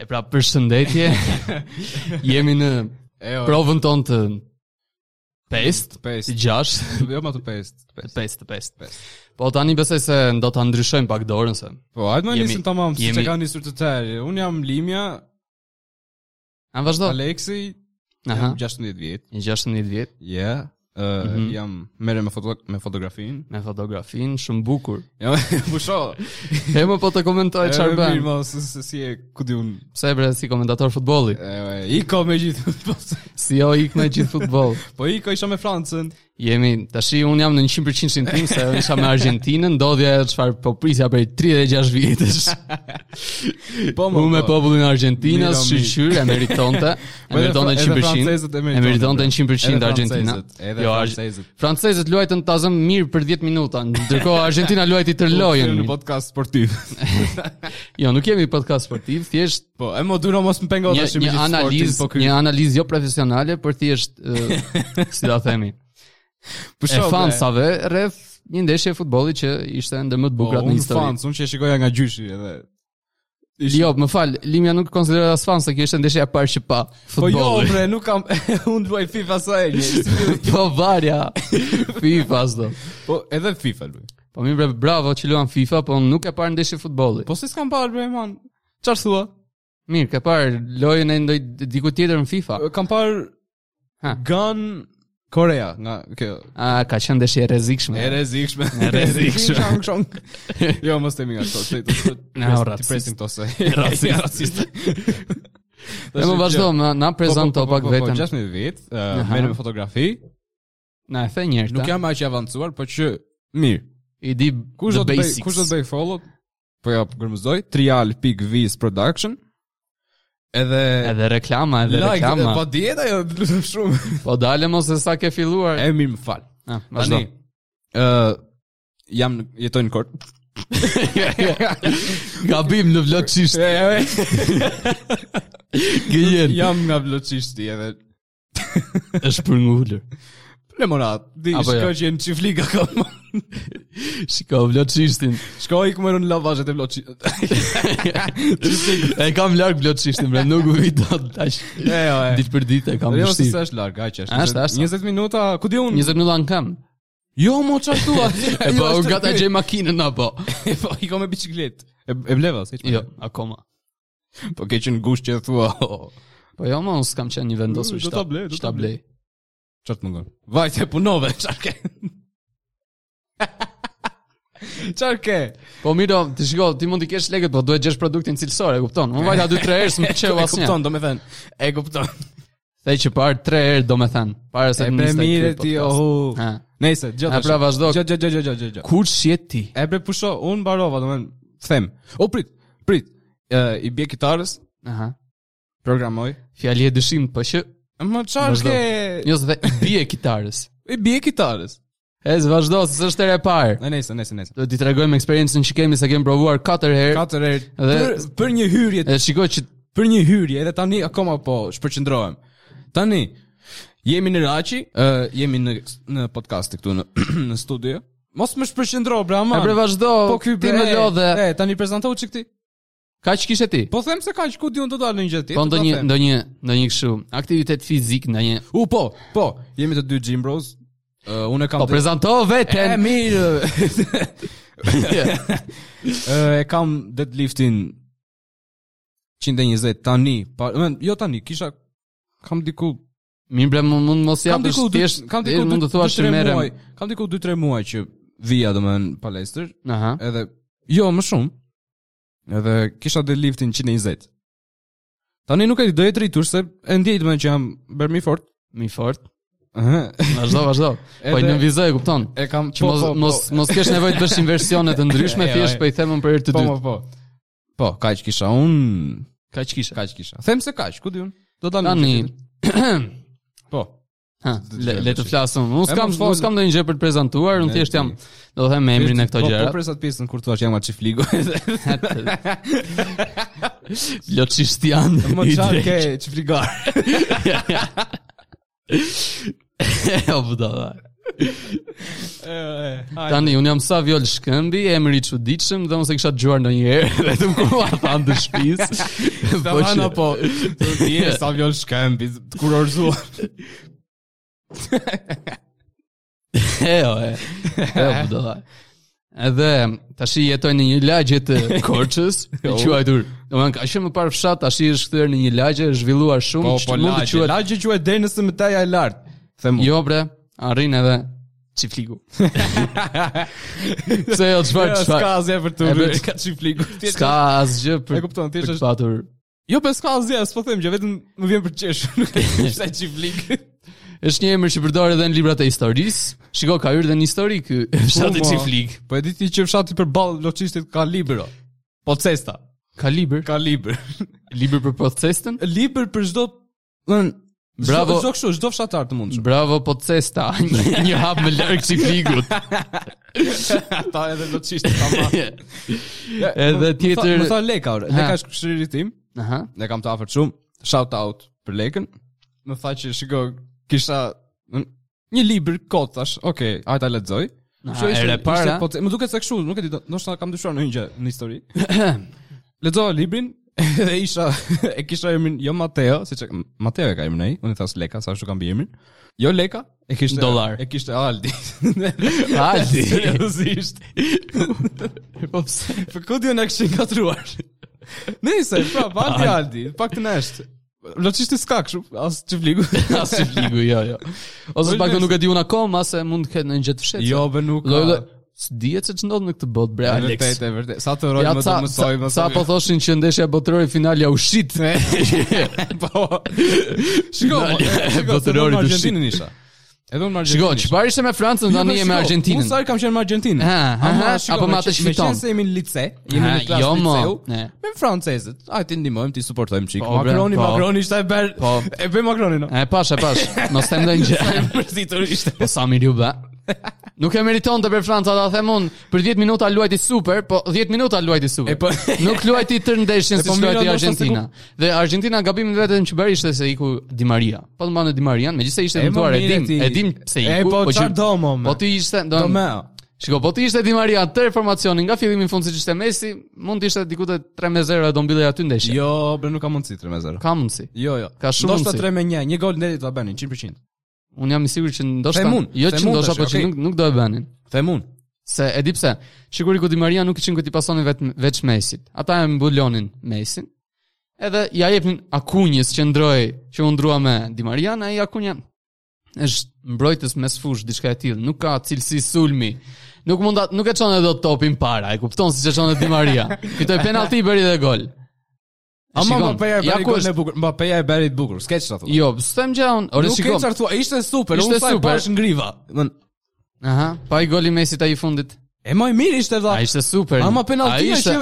E pra përshëndetje. Jemi në Ejo, provën tonë të pest, pest. të gjasht, Jo më të pest. të pest. pest, të pest. Pest. Po tani besoj se do ta ndryshojmë pak dorën se. Po, hajtë më Jemi- nisim tamam, si jemi- që ka nisur të tërë. Unë jam Limja, A vazhdo? Aleksi, Po. Aha. jam 16 vjetë. Një 16 vjet Yeah. Uh, Mhm. Jam mere me, foto, me fotografin. me fotografin, shumë bukur. Jam pusho. E më po të komentoj çfarë E, mirë, bën. mos, se si e, ku di unë. Pse bre si komentator futbolli? E, e, Iko me gjithë. po, se- Si jo ik me gjithë futboll. po Iko isha me Francën. Jemi, tashi un jam në 100% shin tim se unë isha me Argjentinën, ndodhja e çfarë po prisja për 36 vjetësh. Po, mo, Unë me po. popullin e Argjentinës, Miro, mi. shqyr e meritonte, e Po, edhe meritonte fra- edhe 100%. francezët e E meritonte meritonte, 100% Edhe Argjentina. francezët, Edhe Jo, Arg- francezët. Francezët luajtën tazëm mirë për 10 minuta, ndërkohë Argjentina luajti tër lojën. Po, Në podcast sportiv. Jo, nuk kemi podcast sportiv, thjesht Po, e mo duro mos më pengon një, tash me një Po, gjithë sportin, analizë, po ky. një analizë jo profesionale, por thjesht ë, si ta themi. Pusho, E bre. fansave rreth një ndeshje futbolli që ishte ndër më të bukurat në Po, unë histori. fans, unë që e shikoja nga gjyshi edhe. Ishte- Jo, më fal, Limja nuk konsiderohet as fan se kjo ishte ndeshja e parë që pa po jo, futbolli. bre, nuk kam unë luaj FIFA sa e një. si ti- Po varja FIFA s'do. Po edhe FIFA luaj. Po mi bre, bravo që luan FIFA, po unë nuk e parë ndeshje futbolli. Po se s'kam parë bre, man. Çfarë thua? Mirë, ke parë lojën e ndoj diku tjetër në FIFA. Kam parë Ha. Gun Korea nga kjo. A ka qenë ndeshje e rrezikshme. E rrezikshme. E rrezikshme. Shong, shong. Jo, mos themi nga këto. se të- të- Na, pres- o, Ti racist. presim këto se. Racist. Racist. E më vazhdo, ma- na prezanto pak Po, veten. 16 vjet, ë, Aha. merrem me fotografi. Na e the një herë. Nuk ta. jam aq i avancuar, po që mirë. I di Kush the do të bëj, basics. kush do të bëj follow? Po ja, gërmëzoj trial.viz production. Edhe Edhe reklama, edhe like, reklama. po dieta jo, lutem shumë. Po dale mos se sa ke filluar. E mirë, më fal. Ah, vazhdo. Tani, ë jam në- jetoj në kort. Gabim në vloçisht. Gjen. jam nga vloçishti edhe Është për ngulur. Lemonat, di Apo shko jo. që jenë qifliga kam Shiko vloçishtin. Shko i këmërë në lavazhet e vloqi e kam larg vloçishtin, bre, nuk u vi dot tash. E, jo, e Ditë për ditë e kam Jo, se se vështirë. është larg, aq është. Ashtë, ashtë. 20 minuta, ku di unë? 20 minuta në kam. Jo, mo çfarë thua? E po, Jo, u është gata ky. gjej makinën apo? E po, i ka me biciklet. E, e bleva, se Jo, akoma. Po ke qenë gusht që e thua. "Oh, o, Po jo, mos kam qenë një vendosur Do shtat. ta blej, do ta shtat blej. Çfarë të mungon? Vajte punove, çfarë ke? Çfarë ke? Po miro, ti shiko, ti mund të kesh lekët, po duhet gjesh produktin cilësor, e kupton? Unë vajta 2-3 herë s'më E çeu asnjë. kupton, do me thënë. E kupton. Thej që parë 3 herë domethën, para se E të bre niste ky mire ti, podcast. ohu. Ha. Nëse, gjatë. A, pra, vazhdo. Gjatë, gjatë, gjatë, gjatë, gjatë. Kur je ti? E bre pusho, unë mbarova, do me thënë, them. O prit, prit. E, I bje kitarës, Aha. programoj. Fjali e dëshim, po që Ma çfarë Vazhdo. ke? Jo, se the i bie kitarës. I bje kitarës. E zë vazhdo, se s'është e parë. E, Nëse, nëse, nëse. Do t'i tregojmë eksperiencën që kemi se kemi provuar 4 herë. Katër herë. Për, Edhe- për një hyrje E shikoj që për një hyrje edhe tani akoma po shpërqendrohem. Tani jemi në Raçi, ë, jemi në në podcast këtu në në studio. Mos më shpërqendro bra e ama. bre vazhdo. po ky ti bre, më lodhe. E, tani prezantoj çik ti. Kaq kishe ti? Po them se kaq ku diun do dalë në një gjë tjetër. Po do ndonjë them. ndonjë ndonjë kështu aktivitet fizik, ndonjë. U po, po, jemi të dy Jim Bros. Ë, unë e kam Po të- prezanto E veten. mirë. Ë, e kam deadliftin 120 tani, pa, men, jo tani, kisha kam diku Mirë bre, mu- mund mos Kam japësh diku dy- thjesht. kam diku thjesht mund të dy- thuash dy- që tre merrem. muaj- Kam diku 2-3 muaj që vija domethënë në palestër, Aha. edhe jo më shumë. Edhe kisha deadliftin 120. Tani nuk e di, do e drejtur se e ndjej domethënë që jam bërë mi fort. Mi fort. Aha. Vazhdo, vazhdo. Po i Edhe- nënvizoj, e kupton. E kam po, Që mos mos mos kesh nevojë të bësh inversione të ndryshme, E, e, thjesht e. po i themën për herë të po, po, dytë. po. Po, kaq kisha un, Kaq kishe. kaq kisha. Them se kaq, ku di un? Do ta Tani, Po. Ha, le, le të flasim. Unë E, s'kam mos fol. s'kam ndonjë gjë për të prezantuar, unë E, thjesht jam, di. do të them me emrin e këto Po, gjëra. Po, presat pjesën kur thua që jam nga Çifligo. Loçishtian. Më i çfarë ke drejtë. Çifligar? O budalla. Tani un jam Saviol Shkëmbi, emri i çuditshëm dhe unë se kisha dëgjuar ndonjëherë vetëm kur ua than të shtëpisë. Ta vana që- po, ti je sa vjon shkëmbi, të kurorzuar. E, o, e. E, o, budalla. Edhe tash jetoj në një lagje të Korçës, e Jo. quajtur. Domethënë ka qenë më parë fshat, tash është kthyer në një lagje, është zhvilluar shumë, Po, që po, mund të lagje, quhet- lagje quhet deri në sëmëtaja e lartë. Them. unë. Jo bre, arrin edhe çifliku. Se jo çfarë Ja, çfarë. S'ka asgjë për të E, rrë, bet- ka çifliku. Ti- Ska asgjë për jo, E kupton, thjesht për të është- patur. Jo, po s'ka asgjë, s'po them gjë, vetëm më vjen për qesh. Nuk e di pse çiflik. Është një emër që përdoret edhe në librat e historisë. Shiko, ka hyrë dhe në histori ky. Fshati mo. çiflik. Po e di ti që fshati përballë loçistit ka libro. Po cesta, Ka libër, ka libër. libër për podcastën. libër për çdo, domethënë, Bravo. çdo- çdo kështu, çdo fshatar të mundshëm. Bravo podcasta. një hap më larg çiflikut. Ata edhe loçistit ta marrin. Edhe tjetër- Më tha Leka, ore. Leka Ha. është këshiri tim. Aha. Ne kam të afërt shumë. Shout out për Lekën. Më tha që shiko, kisha n- një libër kot thash. Okej, okay, hajta lexoj. Aha, Kështu ishte- e re ishte Ah, para. Po, më duket se kështu, nuk e di, do- ndoshta kam dyshuar në një gjë në histori. Lexova librin dhe isha e kisha emrin jo Mateo, siç e- Mateo e ka emrin ai, unë i thas Leka, sa ashtu kam bie emrin. Jo Leka, e kishte Dollar. e kishte Aldi. Aldi. Seriozisht. Po pse? Për ku dion e këshin katruar? Nëse, pra, Valdi Aldi, pak të nështë. Loqishti s'ka këshu, as që fligu. As çifliku, jo, jo. Ose Po, pak lësh. nuk e di unë akoma se mund të ketë në një gjë të fshehtë. jo, bë nuk ka. Lloj-lloj. S'dihet se ç'ndodh në këtë botë, bre, E Alex. Vërtet, e vërtet. Sa të rojnë Ja më të ca, sa, mësoj, më sa po thoshin që ndeshja botërore finale ja u shit. po. Shiko, po, Finalja e shiko, se botërorit unë me u shqit. Argentinën isha. Edhe unë me Argentinën. Jo, po, Shikoj, çfarë ishte me Francën tani je me Argentinën. Unë sa herë kam qenë me Argentinën. Ha, ha, Ama, ha, shiko, apo me atë qe- që fiton. qenë se jemi në lice, jemi Ha, në klasë jo, mo, liceu, ne. me francezët. Ai ti ndihmojmë, ti suportojmë çik. Po, bre, Makroni, po. Makroni ishte e bër. Po. E bëj Makronin. no. E pash, e pash. Mos të ndonjë gjë. Përzitur ishte. Po sa mirë u bë. Nuk e meriton të për Franca, ta them unë, për 10 minuta luajti super, po 10 minuta luajti super. E po- Nuk luajti tër ndeshjen E po siç mira luajti ndoshta se Argentina. Dhe Argentina gabimin vetëm që bëri ishte se iku Di Maria. Po të mbanë Di Marian, megjithëse ishte E, mo, dëmtuar, e mire dim, ti. e dim se E, iku. po, që- çfarë do, mo, me? Po ti ishte, do. Domeo. Shiko, po ti ishte Di Maria tër formacionin nga fillimi në fund siç ishte Messi, mund të ishte diku te 3-0 e do mbillej aty ndeshje. Jo, bre nuk ka mundësi 3 me 0. Ka mundsi. Jo, jo. Ka shumë Ndoshta mundësi. 3 me 1, një gol deri ta bënin 100%. Unë jam i sigurt që ndoshta Themun, jo që themun ndoshta tash, po që okay. nuk nuk do e bënin. Them unë. Se e di pse. Siguri ku Di Maria nuk ishin ku ti pasonin vetëm veç Mesit. Ata e mbulonin Mesin. Edhe ja jepnin Akunjes që ndroi, që u ndrua me Di Maria, ai Akunja është mbrojtës mes fush diçka e tillë, nuk ka cilësi sulmi. Nuk mund ta nuk e çon edhe topin para, e kupton siç e çon Di Maria. Fitoi penalti bëri dhe gol. Ama Shikon, Mbappé ja e ja bëri ku golin është- e bukur. Mbappé ja e bëri të bukur. Skeç ta thonë. Jo, s'tem gjë unë. Ore Nuk e shikoj. çartua, ishte super, Ishte unë sa e super. pash ngriva. Domthon, Aha, pa i goli Mesit ai i fundit. e më i miri ishte vlla. Ai ishte super. Ama penaltia Ai që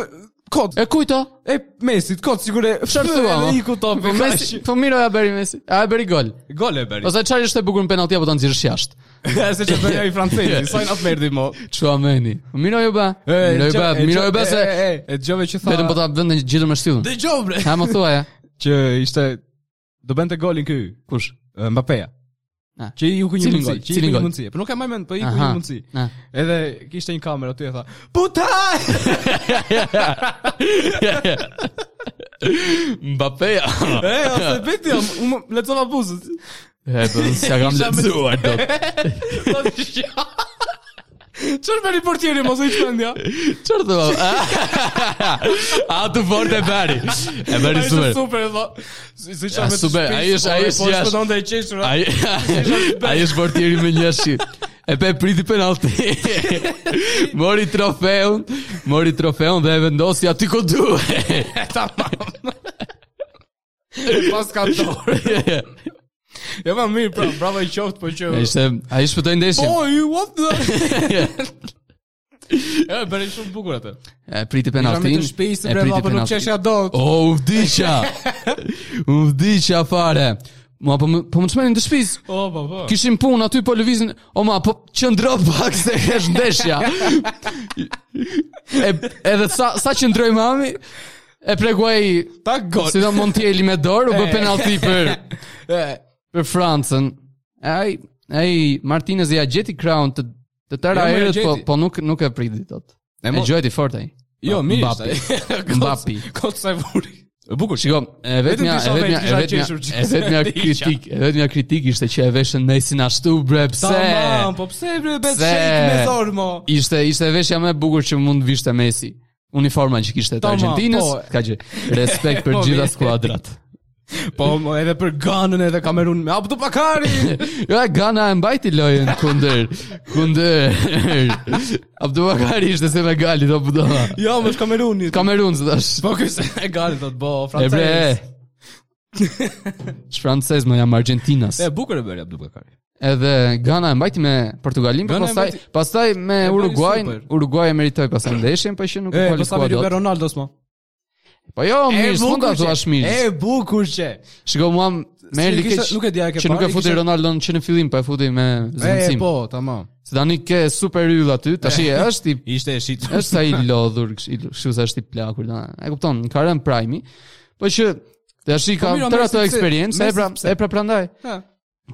kot. E kujto? E Mesit kot sigurisht e Çartua. edhe mo. iku topi. Po Messi, po Miro ja bëri Messi. A e bëri gol. Gol e bëri. Ose çfarë ishte e bukur në penalti apo ta nxirrësh jashtë. Se që bëri ai francezi, sa i na merdi mo. Çuameni. Miro jo bë. Miro jo bë, e, Miro jo bë se e, e, e dëgjove që tha. vetëm po ta vënë gjithë me shtyllën. Dëgjoj bre. Ha më thuaja. Që ishte do bënte golin ky. Kush? Mbappéja. Na. Që i ku një Cilin mundësi, gol? që i ku Cilin një gol? mundësi. Po nuk e maj mend, po i ku Aha. një mundësi. Na. Edhe kishte një kamerë aty e tha, "Putaj!" Mbappé. E, ose beti, unë lexova buzët. E po s'ja kam Isha me- lexuar dot. Çfarë bëri portieri mos e çmendja? Çfarë thua? A të fort e bëri. E bëri super. super, e tha. Si si Ja, çfarë me të super, shpish, ai është- ai po, është po, jashtë. shpëtonte e qeshura. Ai ai është portieri me një shit. E pe priti penalti. mori trofeun, mori trofeun dhe e vendosi aty ku duhet. Tamam. Pas ka dorë. Jo, ma mirë, pra, bravo i qoftë, po që... Ishte, ai shpëtoi ndeshjen. Oj, what the... E, bëri shumë bukur atë. E priti Jam Pra me penaltin. të shpejtë, E bre, priti vapa nuk penaltin. qeshja do. O, u vdiqja. u vdiqja fare. Ma po më- po më çmenin të shtëpis. O, po, po. Kishim punë aty po lëvizin. O ma, po qëndro pak se kesh ndeshja. E, edhe sa sa qëndroi mami, e preguaj Ta gol. si do Montieli me dorë, u bë penalti për E, për Francën. Ai ai Martinez ja gjeti crown të të tëra Jo, më e herët, po gjeti. po nuk nuk e priti dot. E E, mo- gjeti fort ai. Jo, mirë. Mbapi. ishte. Mbapi. Kot sa e vuri. E bukur. Shiko, e vetmja e Vetëm vetmja kisha e vetmja qeshur që e vetmja kisha. kritik, e vetmja kritik ishte që e veshën Messi ashtu bre pse. Tamam, po pse bre bet Pse? shake me zor mo? Ishte ishte veshja më e bukur që mund vishte Messi. Uniforma që kishte të Tamam, Argentinës, po. ka gjë. Respekt për Po, gjitha mirë. skuadrat. Po mo, edhe për Ganën edhe Kamerun me Abdu Bakari. Ja Gana Jo, e mbajti lojën kundër kundër Abdubakari ishte se me gali do budova. jo, më është Kameruni. Kamerun së tash. Po ky se e gali thot, bo, E francez. bre. Shfrancez më jam Argentinas. E bukur e bëri Abdu Bakari. Edhe Gana e mbajti me Portugalin, por Ghana e pastaj mbajti- pastaj me bëri Uruguain, super. Uruguai e meritoi pastaj ndeshjen, po që nuk E, u po sa kualifikuar vjen dot. Ronaldo s'mo. Po jo, mirë, s'mund ta thuash mirë. E bukur që. Shiko mua me Si erdhi kisha- keq. nuk e di, a ke Që nuk e parë, futi kisha- Ronaldo që në fillim, po e futi me E, zëvendësim. po, tamam. Se tani ke super yll aty, tash e është i Ishte e shit. është sa i lodhur, kështu i- kështu sa është i plakur. da. E kupton, ka rënë prime, po që tash i ka Po mirë, o, tërë Messi ato pse? eksperiencë, e Messi pra pse? e pra prandaj. Ha.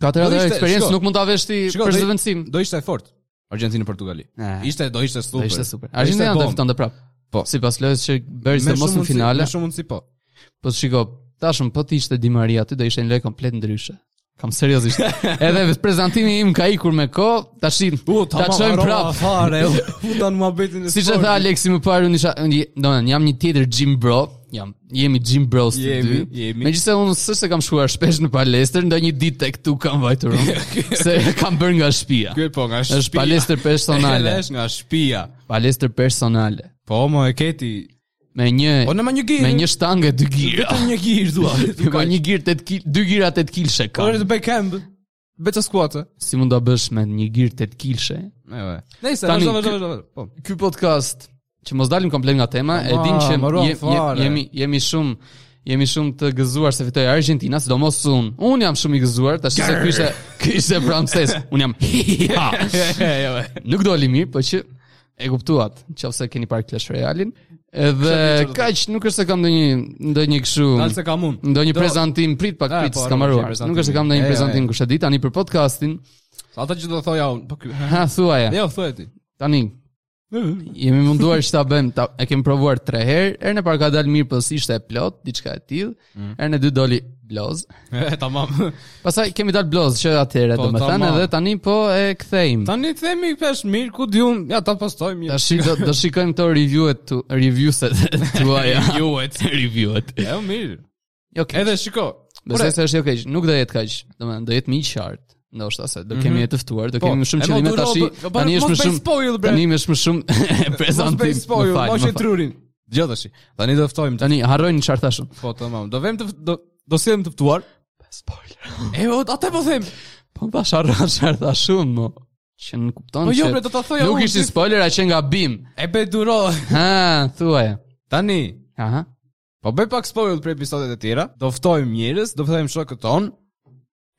Ka tërë Do ato ishte- eksperiencë shiko. nuk mund ta vesh ti Shiko, për do i- zëvendësim. Do ishte e fort. Argentinë Portugali. E. Ishte do ishte super. Do ishte super. Argentina do bomb. fitonte prap. Po. Sipas lojës që bëri Me se mos shumë në mundësi- finale, Me shumë mundësi po. po shiko, tashëm po të ishte Di Maria aty do ishte një lojë komplet ndryshe. Kam seriozisht. Edhe prezantimi im ka ikur me kohë, tash i- ta çojmë prap. Fare, u futan muhabetin e. Si që tha Aleksi më parë, unë isha, unë- do në, jam një tjetër gym bro, jam, jemi gym bros të Jemi, dy. jemi. Megjithëse unë s'është se kam shkuar shpesh në palestër, ndonjë ditë tek tu kam vajtur unë, se kam bërë nga shtëpia. Ky po nga shtëpia. Është palestër Edhe personale, Është nga shtëpia. palestër personale. Po mo e keti. Me një Po në më një girë. me një shtangë dy gira. Vetëm një girë dua. Po një girë 8 kil, dy gira 8 kilshe Po ka. është Beckham. Beca skuatë. Si mund ta bësh me një girë 8 kilshe? Ejve. Nëse, Tani, vazhdo, ky- vazhdo, vazhdo. Po. Ky podcast që mos dalim komplet nga tema, e dim që ma, ruan je- je- fare. jemi jemi shumë jemi shumë të gëzuar se fitoi Argentina, sidomos unë. Unë jam shumë i gëzuar, tash se ky ishte ky ishte francez. Unë jam. ha. Nuk doli mirë, po që e kuptuat, nëse keni parë Clash Royale-in, edhe kaq nuk është se kam ndonjë ndonjë kështu. Dal se kam unë. Ndonjë Do- prezantim prit pak Ah, prit po, s'kam arru, harruar. prezantim. Nuk është se kam ndonjë E, e, prezantim e. kush e di tani për podcastin. Ata që do thoja unë, po ky. Ha thuaja. Jo, thuaj ti. Tani jemi munduar që ta bëjmë, ta, e kemi provuar 3 herë, herën e parë ka dalë mirë, po ishte e plot, diçka e tillë. Mhm. Herën e dytë doli bloz. Tamam. Pastaj kemi dalë bloz që atëherë Po, domethënë tamam. edhe tani po e kthejmë. Tani themi pesh mirë, ku di unë, ja ta postojmë. ja. Tash i do, do shikojmë këto review-et tu, review-set tuaja. Review-et. review-et. Jo, mirë. Jo, okay. Edhe shiko. Besoj se është jo keq, nuk do jetë kaq, domethënë do jetë më i qartë. Ndoshta se do kemi të ftuar, do Po, kemi më shumë e qëllime mo, tashi. duro, po, po, Tani mos është më bëj shumë spoil, bre. Tani është më shumë Mos prezantim. bëj spoil, më fal, mos më e fal. trurin. Dgjoj tash. Tani do ftojmë. Tani harrojnë çfarë thashun. Po, tamam. Do vëmë të do do sillim të ftuar. Spoiler. E o, atë po them. Po tash harran çfarë tha shumë mo. Që nuk kupton Po jo, që bre, do ta thoja Nuk unë, ishin si- spoiler, a që nga bim E bëj duro. Ha, thuaje Tani, Aha po bëj pak spoil për episodet e tjera. Do ftojmë njerëz, do ftojmë shokët ton.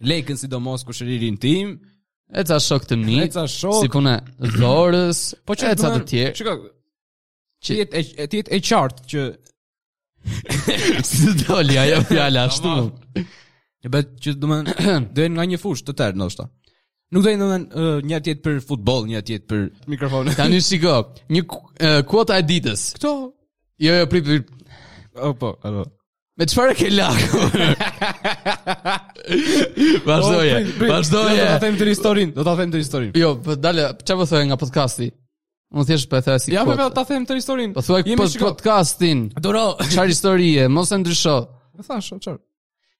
Lekën sidomos kushëririn tim. E ca shok të mi E ca shok. Si puna dhorës Po që që e ca të tjerë Shiko, ti Që- jetë e- ti jetë e qartë që Si të doli ajo fjala ashtu Tamam. E bëhet që do të dojen nga një fushë të tërë ndoshta. Nuk do të thonë një atjet për futboll, një atjet për mikrofon. Tani shiko Një ku- e, kuota e ditës Kto? Jo, jo, prit, prit O po, apo. Me çfarë ke lakur? Po, Vazhdoje, Do ta vazhdoje them të historinë, do ta them të historinë. Jo, po dale, çfarë po thoje nga podcasti? Unë thjesht po e thoya si Ja, po po, kuota. ta them të historinë. Po thuaj Jemi po shiko- podcastin. Duro. Çfarë historie, mos e ndrysho. E thash, çfarë?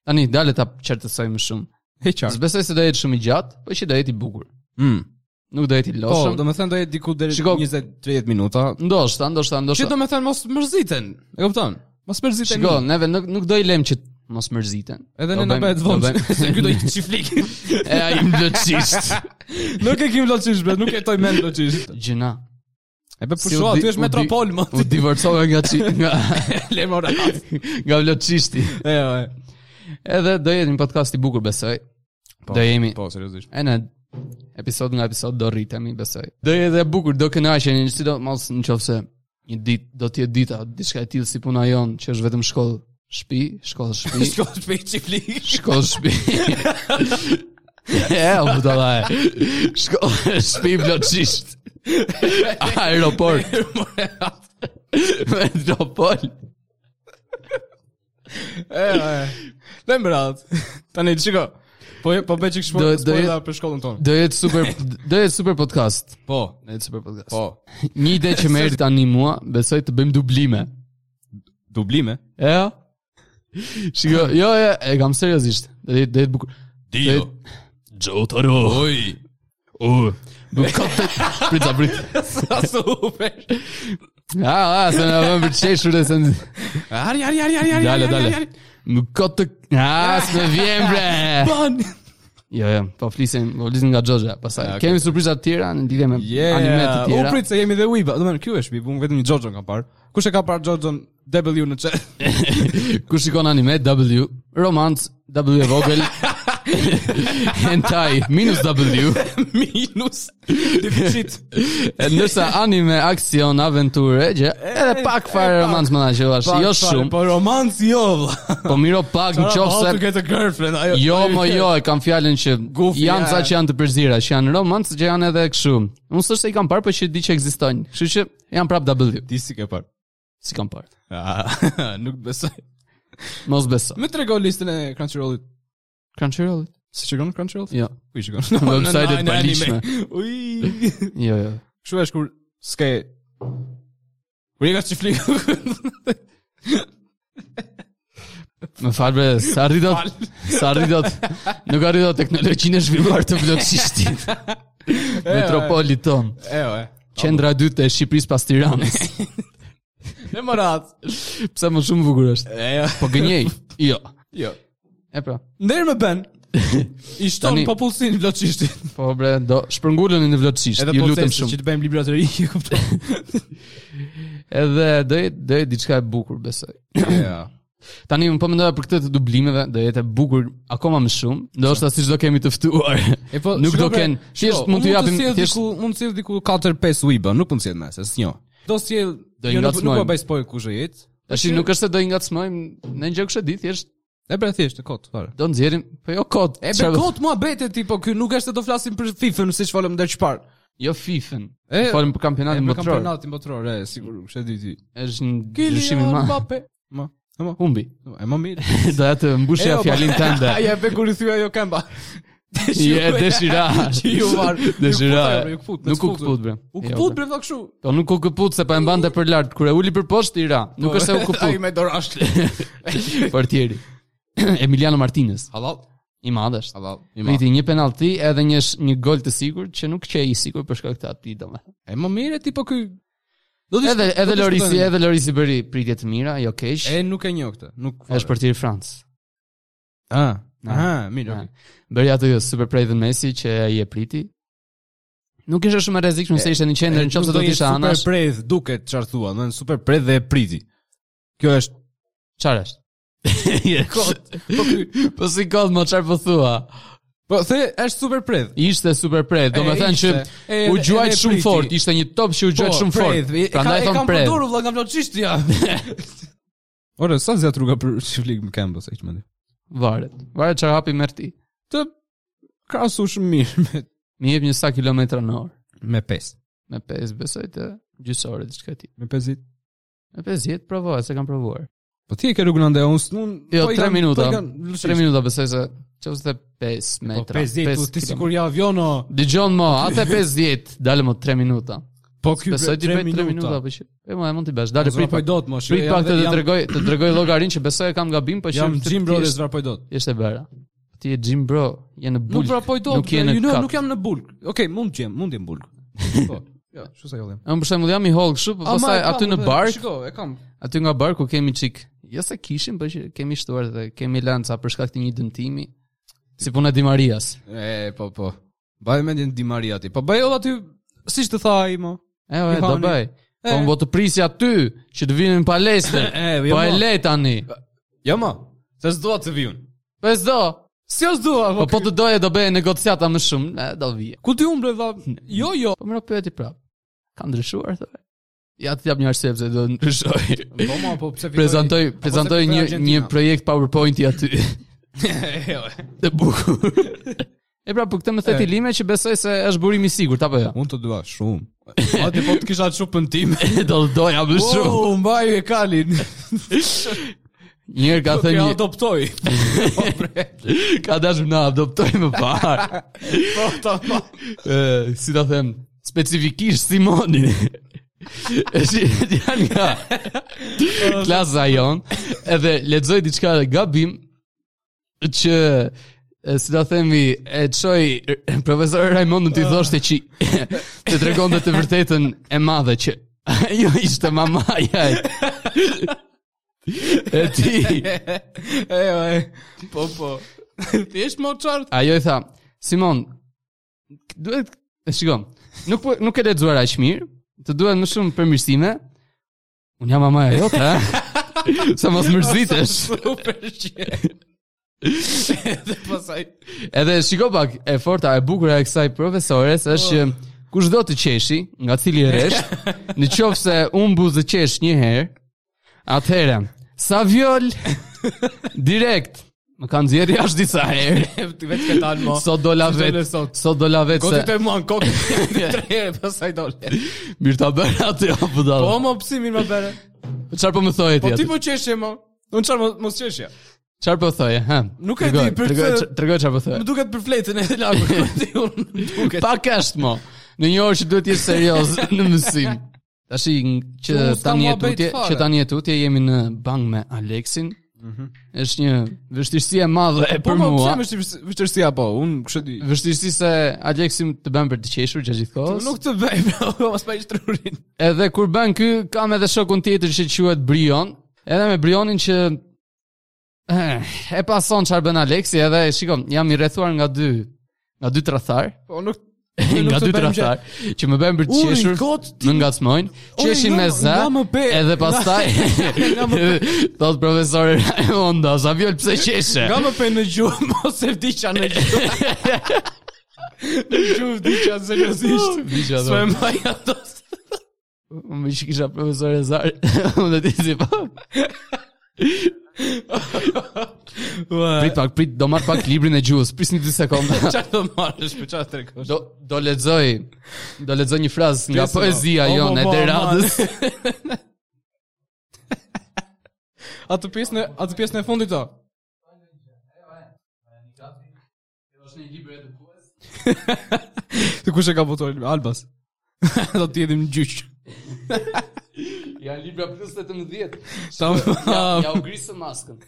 Tani dale ta qertësoj më shumë. He qartë. Zbesoj se do jetë shumë i gjatë, po që do jetë i bukur. Mm. Nuk do jetë i Po, loshëm. do të thënë do jetë diku deri Shiko- 20-30 minuta. Ndoshta, ndoshta, Që ndoshta. do të thënë mos mërziten. E kupton? Mos mërziten. Shiko, neve nuk nuk do i lëm që t- mos mërziten. Edhe Do ne na bëjmë- bëhet do vonë. bëjmë- Se ky do të çiflik. E ai më lëçist. Nuk e kim loçish, bet, nuk e toj mend loçish. Gjëna. E bë Si u pushua, di- ty u është di- metropol, më. U divorcova nga qi, nga Le mora. nga vloçisti. E, e. Edhe do jetë një podcast i bukur besoj. do jemi. Po, seriozisht. E në episod nga episod do rritemi, besoj. Do jetë e bukur, do kënaqeni, sidomos në qoftë se një ditë do të jetë dita diçka e tillë si puna jon, që është vetëm shkollë, shtëpi, shkollë, shtëpi, Shko shpejt çiflik. shkollë, shtëpi. E, o budala e. Shko, shpi bloqisht. Aeroport. Metropol. E, e. Lem brat. Tani shiko. Po po bëj Do- çik shpo- do- spoiler për shkollën tonë. Do jetë super, do jetë super podcast. Po, Do jetë super podcast. po. Një ide që më erdhi tani mua, besoj të bëjmë dublime. Dublime. E? Shiko, jo, jo, e kam seriozisht. Do jetë do jetë bukur. Ah. Dio. Joe Taro. Oj. U. Bukat. Prit, prit. Sa super. Ah, ah, se na vëmë për çeshur e se në... Ari, ari, ari, ari, ari. Dale, ari, dale. ari, ari. Më kotë të... Ah, s'me vjen, bre! Ban. Jo, jo, po flisim, po flisim nga Gjoja, pasaj. Ah, okay. Kemi surpriza të tjera në lidhje me Yeah. anime të tjera. U prit se jemi dhe Weeba. Do të thonë ky është Weeba, unë vetëm një Jojo kam parë. Kush e ka parë Jojo W në chat? Kur shikon anime, W, romance, W e vogël, hentai, minus W, Minus deficit. e ndërsa anime, aksion, aventure, gjë, edhe pak fare romance më na që vash, jo shumë, Po romanc jo vlla. po miro pak në qofë How se to get a girlfriend. Ajo. Jo, mo jo, e kam fjalën që Gufi, janë ca ja. që janë të përzira, që janë romancë që janë edhe kështu. Unë s'është se i kam parë, por që di që ekzistojnë. Kështu që janë prap W, Ti si ke parë? si kam parë. Ah, nuk besoj. Mos beso. Më trego listën e Crunchyroll-it. Crunchyroll? Si shikon Crunchyroll? Jo. Ku i shikon? Website-et Në- në anime. palishme. Uj. Jo, jo. Kështu është kur s'ke Kur je ka çiflik. Më fal bre, sa rridot, Fal. sa rridot. Nuk arritot teknologjinë e zhvilluar të plotësishtit. Metropoli ton, E, o, e. qendra e dytë e Shqipërisë pas Tiranës. E morat. Pse më shumë bukur është. E, o. Po gënjej. Jo. jo. E pra. Ndër më bën. I shton Tani- popullsin vloçishtin. Po bre, do shpërnguleni në vlotësisht. Ju lutem shumë. po Që të bëjmë libra të ri, e kupton. Edhe do jetë do jetë diçka e bukur, besoj. Ja. Tani unë po mendoja për këtë të dublimeve, do jetë e bukur akoma më shumë, ndoshta siç do kemi të ftuar. E po, nuk shiko, do bre, ken, shiko, thjesht mund unë t'ju japim sjell thjesht diku, mund të sjell diku 4-5 uiba, nuk mund të sjell më, se s'njo. Do sjell, Do jo, nuk, nuk ngacmojmë. po bëj spoil kush e jetë. tash nuk është se do i ngacmojmë në gjë kështë di, thjesht E bre thjesht, e kot, fare. do nxjerrim, po jo kot. E bre çfarë do- kot mua bete ti, po ky nuk është se do flasim për FIFA-n siç folëm ndër çfarë. Jo FIFA-n. E, Folim për E kampionatin për botror. kampionatin botror, e sigur, kush e di ti. Është një dyshim i madh. Mbappe. Ma, e ma, Humbi. e ma mirë. Do ja të E, mbushja o, fjalin tënde. Ai e be kur i "Jo, thua ajo këmba. Je dëshira. Që ju var. Dëshira. Ju kput, Nuk u kput bre. U Jo, kput bre vëlla kështu. Po nuk u këput se pa e mbante për lart. Kur e uli për poshtë i ra. Nuk është se u këput. Po, Ai me dorash. Portieri. Emiliano Martinez. Halal. I madh është. Halal. Priti një penalti edhe një sh- një gol të sigurt që nuk qe i sigurt për shkak të atij domethënë. E më mirë ti po ky. Do Edhe edhe Lorisi, edhe Lorisi bëri pritje të mira, jo keq. E nuk e njoh këtë. Nuk. fare. Është portieri i Francës. Ah. Na. Aha, mirë. Ja. okay. Bëri atë jo, super prej dhe Messi që ai e priti. Nuk ishte shumë e rrezikshme se ishte në qendër, E, nëse nuk do të jetë ishte anash. Super predh duket çfarë thua, do të thonë super predh dhe e priti. Kjo është Çfarë është? kot. Po ky. Po si kod më çfarë po thua? Po the është super predh. Ishte super prej, do E, me thënë që ishte. E, u edhe- gjuajt edhe shumë priti. fort, ishte një top që u gjuajt shumë fort. predh. Po, E ka- Prandaj e thon kam prej. përdorur vëlla nga vloçisht ja. Ora, sa zë truga për çiflik më kembo sa këtë mendi. Varet. Varet çfarë hapi merr ti. Të krahasu shumë mirë me Mi jep një sa kilometra në orë, me 5. me 5 besoj të gjysore diçka ti. Me 5 Me 50 provoj, se kam provuar. Po ti e ke rrugën ande, unë po s'un Jo, tre minuta. 3 3 minuta besoj se çose 5 Po metra. 50, tu ti sigur ja aviono. Dëgjon mo, atë 50 dalë më 3 minuta. Po ky Besoj ti bëj 3 minuta minuta. apo që. E mo, e mund ti bash. Dalë Zvar prit po pak. dot më Prit shumë. pak të të tregoj, të tregoj llogarin që besoj e kam gabim, po që Jam të Jim Bro dhe thjesht- zvar po dot. Ishte vera. Ti je Jim Bro, je në bulk. Nuk pra po dot. Nuk je në you know, kap. nuk jam në bulk. Okej, mund të jem, mund të jem bulk. Po. Jo, çu sa jo jam. Unë për shembull jam i holl kështu, po Ama pastaj e kam, aty në edhe- bar, Shiko, e kam. aty nga bar ku kemi çik. Jo se kishim, po që kemi shtuar dhe kemi lënë ca për shkak të një dëmtimi. Si puna e Di Marias. E, po, po. Baj mendjen Di Maria ti. Po bëj edhe aty siç të tha ai më. E, o, e, do Johani. bëj. Po E. më të prisi aty që të vinë në palestër. E, jo, Po e mo. le tani. Jo më. Se s'dua të viun. Po s'do. Si os dua, Po po të doje do bëje negociata më shumë, e, do vije. Ku ti humble vlla? Jo, jo. Po më pyeti prap. Ka ndryshuar thotë. Ja të jap një arsye pse do ndryshoj. Po ma, po pse fitoi? Prezantoj prezantoj fitoi një Argentina. një projekt PowerPoint i aty. Jo, e. Të bukur. E pra, për këtë më thet E. lime që besoj se është burim i sigurt apo jo. Unë të dua shumë. Ati po të kisha çupën tim. Do të doja më shumë. Wow, mbaju e kalin. Njëherë ka Të thënë një, adoptoj. Po, ka dashur na adoptoj më parë. Po, ta. Ë, si ta them, specifikisht Simonin. Është janë nga klasa jon, edhe lexoj diçka dhe gabim që e, si ta themi, e çoj profesor Raimondun ti thoshte që të tregonte të vërtetën e madhe që ajo ishte mamaja. e- E ti, E, e. Po, po. Ti je më qartë. ajo i tha, Simon, k- duhet, e shiko, nuk, po, nuk e lexuar aq mirë, të duhet më shumë përmirësime, unë jam mamaja jote, ha? sa mos mërzitesh. Super që. Edhe pasaj. Edhe shiko pak e forta e bukur e kësaj profesores është që kushdo të qeshi, nga cili resh, në qoftë se unë buzë qesh një herë, atëherë sa vjol direkt më kanë nxjerrë jashtë disa herë. Ti vetë ke dalë më. Sot dola Si dole vet, Po. sot? sot dola vet se Goti të mua në kokë tre herë pasaj dole. mirë ta bën aty apo Po dall. më psimin më bëre. Çfarë po më thoje ti? Po ti atë? po qeshje më. Unë çfarë mos- mos qeshja. Çfarë po thoje? Ha. Nuk e Tregoj, di, për tregoj, këtë- tregoj çfarë po thoje. Më duket për fletën e lagut. Ti unë më duket. Pa është mo. Në një orë që duhet jesh serioz në mësim. Tashi ng- që Që mos ka tani e muhabet tutje, fare. që tani e tutje jemi në bank me Alexin. Është një vështirësi e madhe e për Po mua. më pse më vështirësia po, unë kështu di. Vështirësi se Alexi më të bën për të qeshur gjatë gjithë kohës. Po, Nuk të bëj, bro, mos pa i shtrurin. Edhe kur bën ky, kam edhe shokun tjetër që quhet Brion, edhe me Brionin që eh, e pason çfarë bën Alexi, edhe shikom, jam i rrethuar nga dy nga dy tradhtar. Po nuk nga dy tradhtar që më bën për të Uri, qeshur, kot, ti- më ngacmojnë, Uri, qeshin nga- me zë, nga më pe- edhe pastaj Nga më thot profesori Raimonda, sa vjol pse qeshe? Nga më pe në gjuhë, mos e vdiqa në gjuhë. Në gjuhë vdiqa seriosisht. Vdiqa, Së do. e maja dos. Më që kisha profesore Zar, unë dhe ti si pa. Prit pak, prit, do marr pak librin e gjuhës, pris një 2 sekonda. Qa të marrësh, për qa të trekosh. Do do lexoj, do lexoj një frazë nga Pjesë, no. poezia O, jonë mo, e mo, Deradës. Atë pjesën e- atë pjesën e fundit ta. Të kush e ka votuar Albas? Do të jedhim në gjyq. Ja libra plus 18. Tam. Ah. Ja, ja u grisë maskën.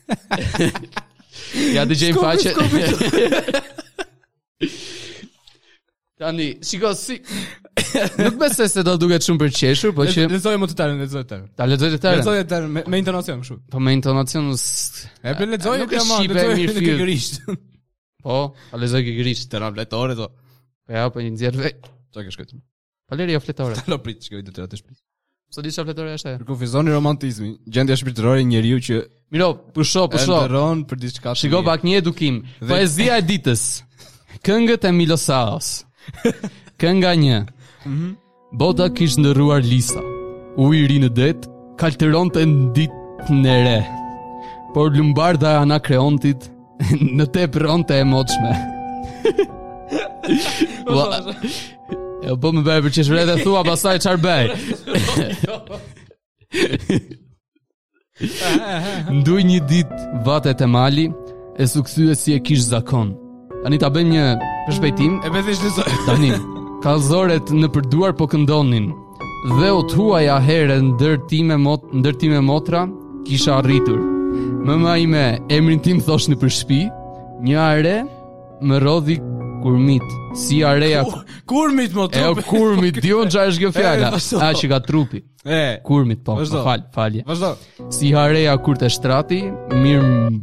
ja dëgjej Skopi, faqe. skopi. Tani, shiko si nuk besoj se do duket shumë për qeshur, po që Lezoj më të tërën, lezoj të tërën. ta lexoj të tërë. Lezoj të tërën, me, me intonacion kështu. Po me intonacion s- E për lezoj Nuk e e kema, shqipe, lezoj mirë në fyll. këgërisht. po, ta lexoj ke grisht. Të rabletore, to. Po ja, po një nxjerr veç. Qa ke shkojtë? Valeri jo fletore. Lo prit, shkoj të tëra të shpis. Sot isha fletore është ajo. Për kufizoni romantizmi, gjendja shpirtërore e njeriu që Miro, pusho, e pusho. ndërron për diçka të Po, Shiko mirë. pak një edukim. Dhe- Poezia e ditës. Këngët e Milosaos. Kënga 1. Mhm. Bota kish ndërruar lisa. Uji i ri në det kalteronte në ditën e re. Por lumbarda e Anakreontit në tep rronte e moçme. Ua, e po më bëj për qeshre dhe thua pasaj çfarë bëj. Nduj një ditë vatet e mali, e sukthye si e kish zakon. Tani ta bëjmë një përshpejtim. E bëthesh lezoj. Tani, kalzoret në përduar po këndonin Dhe u tuaja herë ndërtime, mot, ndërtime motra kisha arritur Mëma ime emrin tim thosh në përshpi Një are më rodhi kurmit Si areja Kurmit më E o trup. kurmit, dion qa është kjo fjala E, vazhdo. A që ka trupi E, Kurmit po, Vazhdo. më fal, falje vazhdo. Si hareja kur të shtrati Mirë m-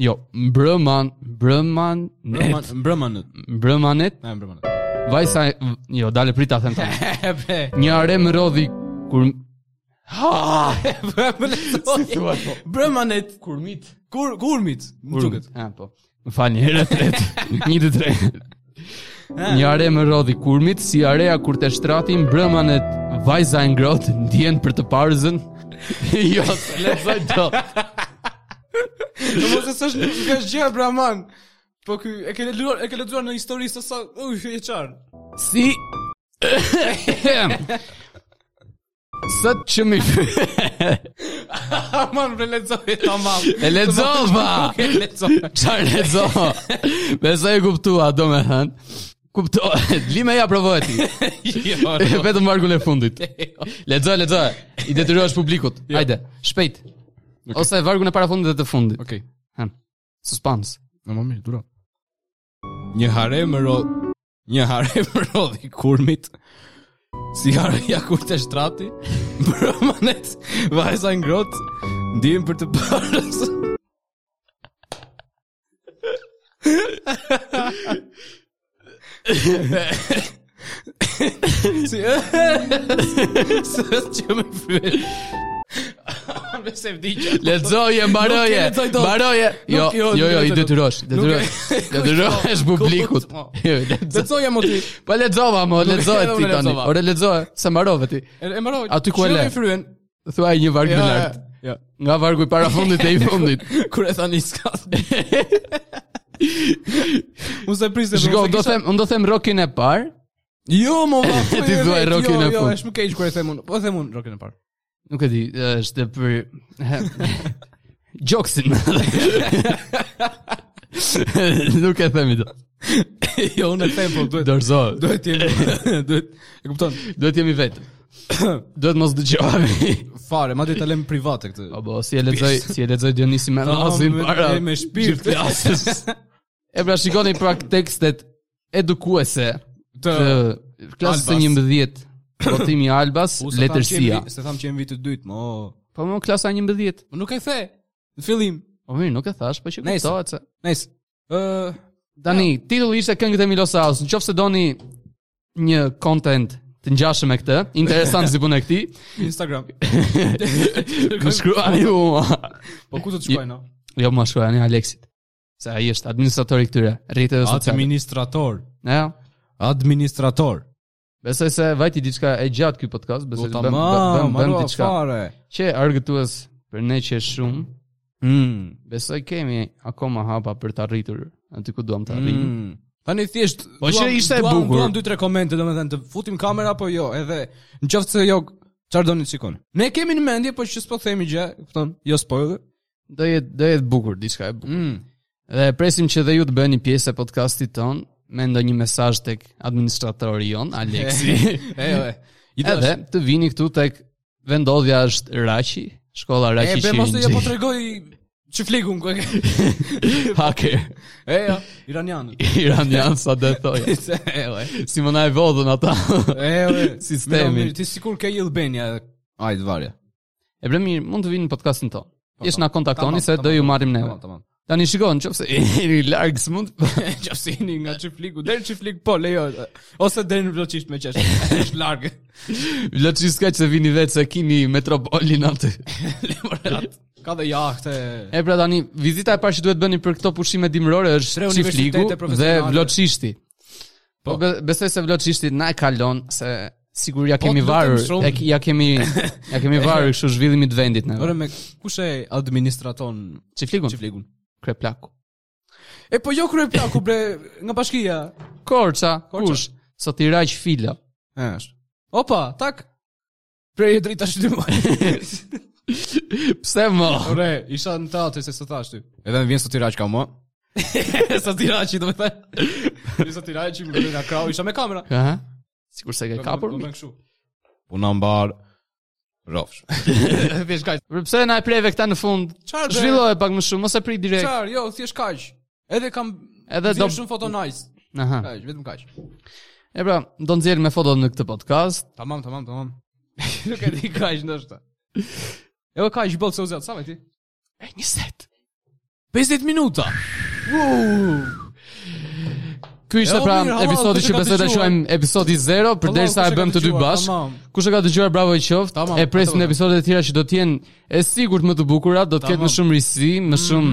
Jo, mbrëman Mbrëman Mbrëman, mbrëmanët. Mbrëmanet E, mbrëmanët. Vajsa Jo, dale prita them tani E, bre. Një are më rodhi kur Ah, E, bre, më lezoj. thua po? Mbrëmanët. Kurmit. Kur, kurmit. Më duket. Ah, po. Më fal një herë tret. Një të tre. Një are më rodhi kurmit, si area kur të shtrati mbrëmën e vajza e ngrohtë ndjen për të parzën. jo, se lezoj dot. Po mos e s'është nuk është gjë Brahman. Po ky e ke lexuar, e ke lexuar në histori se sa, uj, e çan. Si Sot që mi Aman bre lexoj tamam. E lexova. E lexova. Qarë lezo Besa e kuptua do me thënë Kuptohet, lime ja provohet ti Jo. jo. Vetëm vargun e fundit Lexo, lexo I detyrohesh publikut Jo. Hajde, shpejt Ose vargun e para fundit dhe të fundit Okej. Hëm. Suspans Në më mirë, dura. Një harem rrodh, një harem rrodhi kurmit. Si harë ja kur të shtrati, bërëmanet, vajza ngrohtë, ndihem për të parës. si e Së që me fryet Me se vdicja Lexo e Nuk e mbaroje lexoj dot. Mbaroje Jo, jo, jo, jo, nuk e i lexoj dot. detyrosh Detyrosh Detyrosh publikut Kupto. Jo, lexo. Lecoja mo ti Po lexova mo, lexohet edhe ti unë tani. lexova. Ore lexohet, se mbarove ti. E e mbaroj. Aty ku e le. Shëlloj fryen. Thuaj një varg më lart. Ja. Nga vargu i para fundit e i fundit. Kur e thani ska. Mos e prisë. Shiko, unë do them, unë do them rokin e parë. Jo, mo va. po, Ti jo, thua vet, rokin jo, e Jo, fund. është më keq kur e them unë. Po e them unë rokin e parë. Nuk e di, është për Joksin. Nuk e themi dot. jo, unë e them po duhet. Dorzohet. Duhet të jemi. Duhet. E kupton. Duhet jemi vetëm. Duhet mos dëgjohemi. Fare, madje ta lëm private këtë. Po bo, si e lexoj, si e lexoj Dionisi Ah, me nasin me- para. e, me shpirt. gjithë klasës. E pra shikoni pra tekstet edukuese të klasës së Albas. 11. Votimi i Albas, U, se tham që letërsia. jemi- Se tham që jemi viti të dytë, mo. Po më klasa 11. Po nuk e the. Në fillim. Po mirë, nuk e thash, po që Nice. kuptohet se. Nice. Ë, Tani, titulli ishte këngët e Milos Raos. Nëse doni një content të ngjashëm me këtë, interesant si puna e këtij, Instagram. më shkruani ju. Po ku do të shkojnë? no? Jo, më shkruani Aleksit. Se ai është administratori i këtyre rrjeteve sociale. Administrator. Ja. Administrator. Besoj se vajti diçka e gjatë ky podcast, besoj Po se ta bëm bëm- bëm marrua diçka fare. që e argëtues për ne që është shumë. Hmm, Mm. Besoj kemi akoma hapa për të arritur aty ku duam të arrijmë. Tani thjesht hmm. Po që ishte e duam, bukur. Duam 2-3 komente domethënë të futim kamera apo jo, edhe nëse se jo çfarë doni të shikoni. Ne kemi në mendje, po që s'po themi gjë, kupton? Jo spoiler. Do jetë do jetë bukur diçka e bukur. Mm. Dhe presim që dhe ju të bëni pjesë e podcastit ton me ndonjë mesazh tek administratori jon Aleksi. E jo. e. I Edhe dash. të vini këtu tek vendodhja është Raqi, shkolla E Raqi be mos e Shirinxhi. po tregoj çiflikun ku e ke. Hacker E jo, iranianët. iranian sa do të thoja. E jo. e. Si më na e vodhën ata. E jo. e. Sistemi. Mirë, mirë, Ti sikur ke i Albania. Ajde varje. E bre mirë, mund të vini në podcastin ton. Jesh na kontaktoni Po, Tamam, se tamam, do ju marrim neve. Tamam, tamam. Tani shikon, nëse jeni larg s'mund. Qafsini nga çifliku, deri në çiflik po lejo. Ose deri në bloqisht me qesh. Është larg. Loçi s'ka që se vini vetë se kini metropolin aty. Ka dhe jahte. E pra tani vizita e parë që duhet bëni për këto pushime dimrore Tre është universitete Çifliku dhe profesionale. Vloçishti. Po Po. be- besoj se Vloçishti na e kalon se sigur ja Po, kemi lutem varur, shumë. ja, k- ja kemi ja kemi varur kështu zhvillimit të vendit ne. Ore me kush e administraton Çiflikun, çiflikun? Kreplaku. E po jo krye plaku bre nga bashkia. Korça, Korça. kush? Sotiraq Fila. Është. Opa, tak. Prej e drita shtymë. Pse mo? Ore, isha në teatr se s'e thash ty. Edhe më vjen sot Tiraç ka mua. Sot Tiraç, do të thënë. Isha Tiraç më vjen nga krau, isha me kamera. Aha. Sigur se ke kapur. Do mi. me kështu. Puna mbar. Rofsh. Vesh kaq. Për Pse na e preve këta në fund? Çfarë do- Zhvilloje pak më shumë, mos e prit direkt. Çfarë, jo, thjesht kaq. Edhe kam Edhe nxjerr do- shumë foto nice. Aha. Kaq, vetëm kaq. E pra, do nxjerrim me fotot në këtë podcast. Tamam, tamam, tamam. Nuk e di kaq ndoshta. Jo kaq bëll se u zgjat, sa me ti? E 20. 50 minuta. Ky ishte Jo, pra mirë, halal, episodi kush e që ka besoj ta dëgjuar? quajmë episodi 0 përderisa kush e e ka bëm të dy dëgjuar, bashk. tamam. Kush e ka dëgjuar bravo i qoftë. Tamam, e presim atë episode të tjera që do të jenë e sigurt më të bukura, do të ketë më Tamam. Mhm. shumë risi, më shumë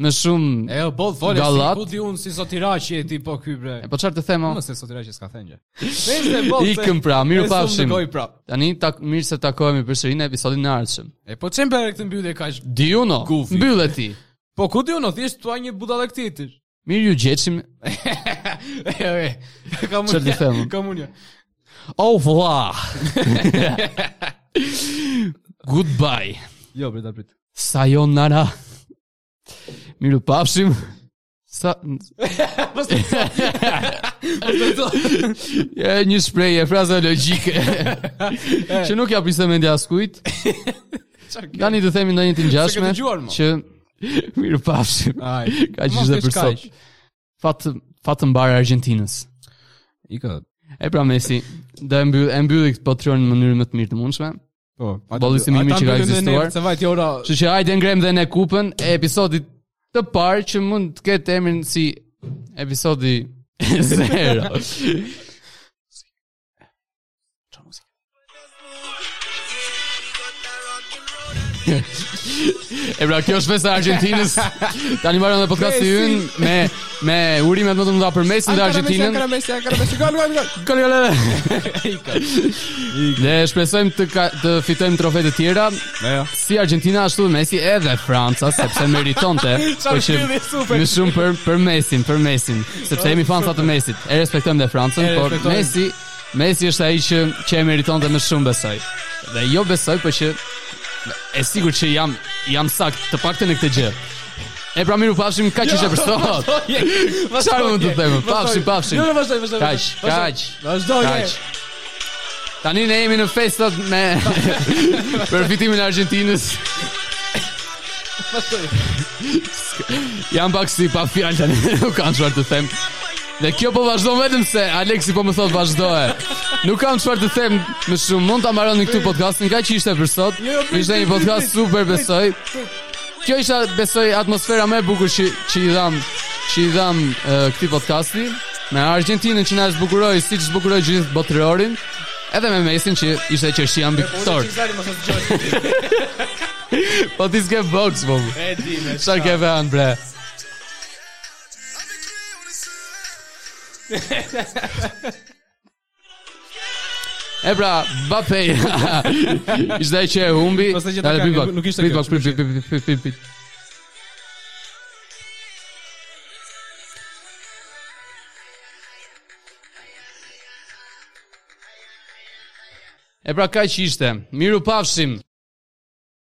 më shumë E jo, boll fole, si Gallat. ku di unë si sot Tiraçi e ti po ky bre. Po çfarë të them? o? Mos se sot Tiraçi s'ka thënë gjë. Vende boll. se- Ikëm pra, miru se s'u pafshim. ndërgoj prap. Tani tak mirë se takohemi përsëri në episodin e ardhshëm. E po çem bëre këtë mbyllje kaq? Diuno, Gufi. mbyllet ti. Po ku di unë, thjesht thua një budallë këtitish. Mirë ju gjetshim. Kam Çfarë ti them? Kam unë. Oh, vla. Goodbye. Jo, prit, prit. Sayonara. Miru pafshim. Sa... e një shprejë, fraza logjike Që nuk ja piste mendja askujt Dani të themi ndonjë të Se ngjashme ke dëgjuar, Ah. mo? Që Miru pafshim Ai, Ka gjithë dhe për sot Fatë fat mbarë Argentinës Ika. E pra Messi Do e mbyll e mbylli këtë patrion në mënyrë më të mirë të mundshme Po, atë- Bollësi mimi ata që ka mbyllen dhe ekzistuar. ne, Se vajti ora. Kështu që hajde ngrem dhe ne kupën e episodit të parë që mund të ketë emrin si episodi 0. e pra kjo është festa e Argentinës. Tani mbaron edhe podcasti ynë me me urimet më të mëdha për Mesin dhe Argentinën. Ankara Messi, Ankara Messi, gol, gol, gol. Gol gol. Ne shpresojmë të ka, të fitojmë trofe të tjera Ja. si Argentina ashtu dhe Messi edhe Franca sepse meritonte Çfarë mbyllje super. më shumë për për Mesin, për Mesin, sepse jemi fansa të Mesit. E respektojmë dhe Francën, E por respektojmë. Messi Messi është ai që që e meritonte më shumë besoj. Dhe jo besoj, por që e sigurt që jam jam sakt të paktën në këtë gjë. E pra miru pafshim ka Jo. që për sot. Çfarë mund të them? Pafshim, pafshim. Jo, jo, vazhdoj, vazhdoj. Kaq, vazhdoj. kaq. Vazhdoj. je. Kaq. Tani ne jemi në festat me përfitimin e Argentinës. Jam pak si pa fjalë tani, nuk kam çfarë të them. Dhe kjo po vazhdon vetëm se Aleksi po më thot vazhdoe. Nuk kam çfarë të them më shumë. Mund ta mbaroni këtu podcastin, nga që ishte për sot. Jo, jo, prit, Ishte një prit, podcast prit, super prit, besoj. Kjo ishte besoj atmosfera më e bukur që që i dham që i dham uh, këtij podcasti me Argentinën që na zbukuroi siç zbukuroi gjithë botërorin. Edhe me Mesin që ishte qershia mbi Unë këtor. që zani mos të dëgjoj. Po ti s'ke box, po. E di me. Çfarë ke vënë bre? E pra, Mbappé ishte ai që e humbi. Pastaj që ta Dale, ka, prit pak, nuk ishte prit kjo, pak, prit, prit, prit, prit, prit, prit. E pra kaq ishte. Miru pafshim.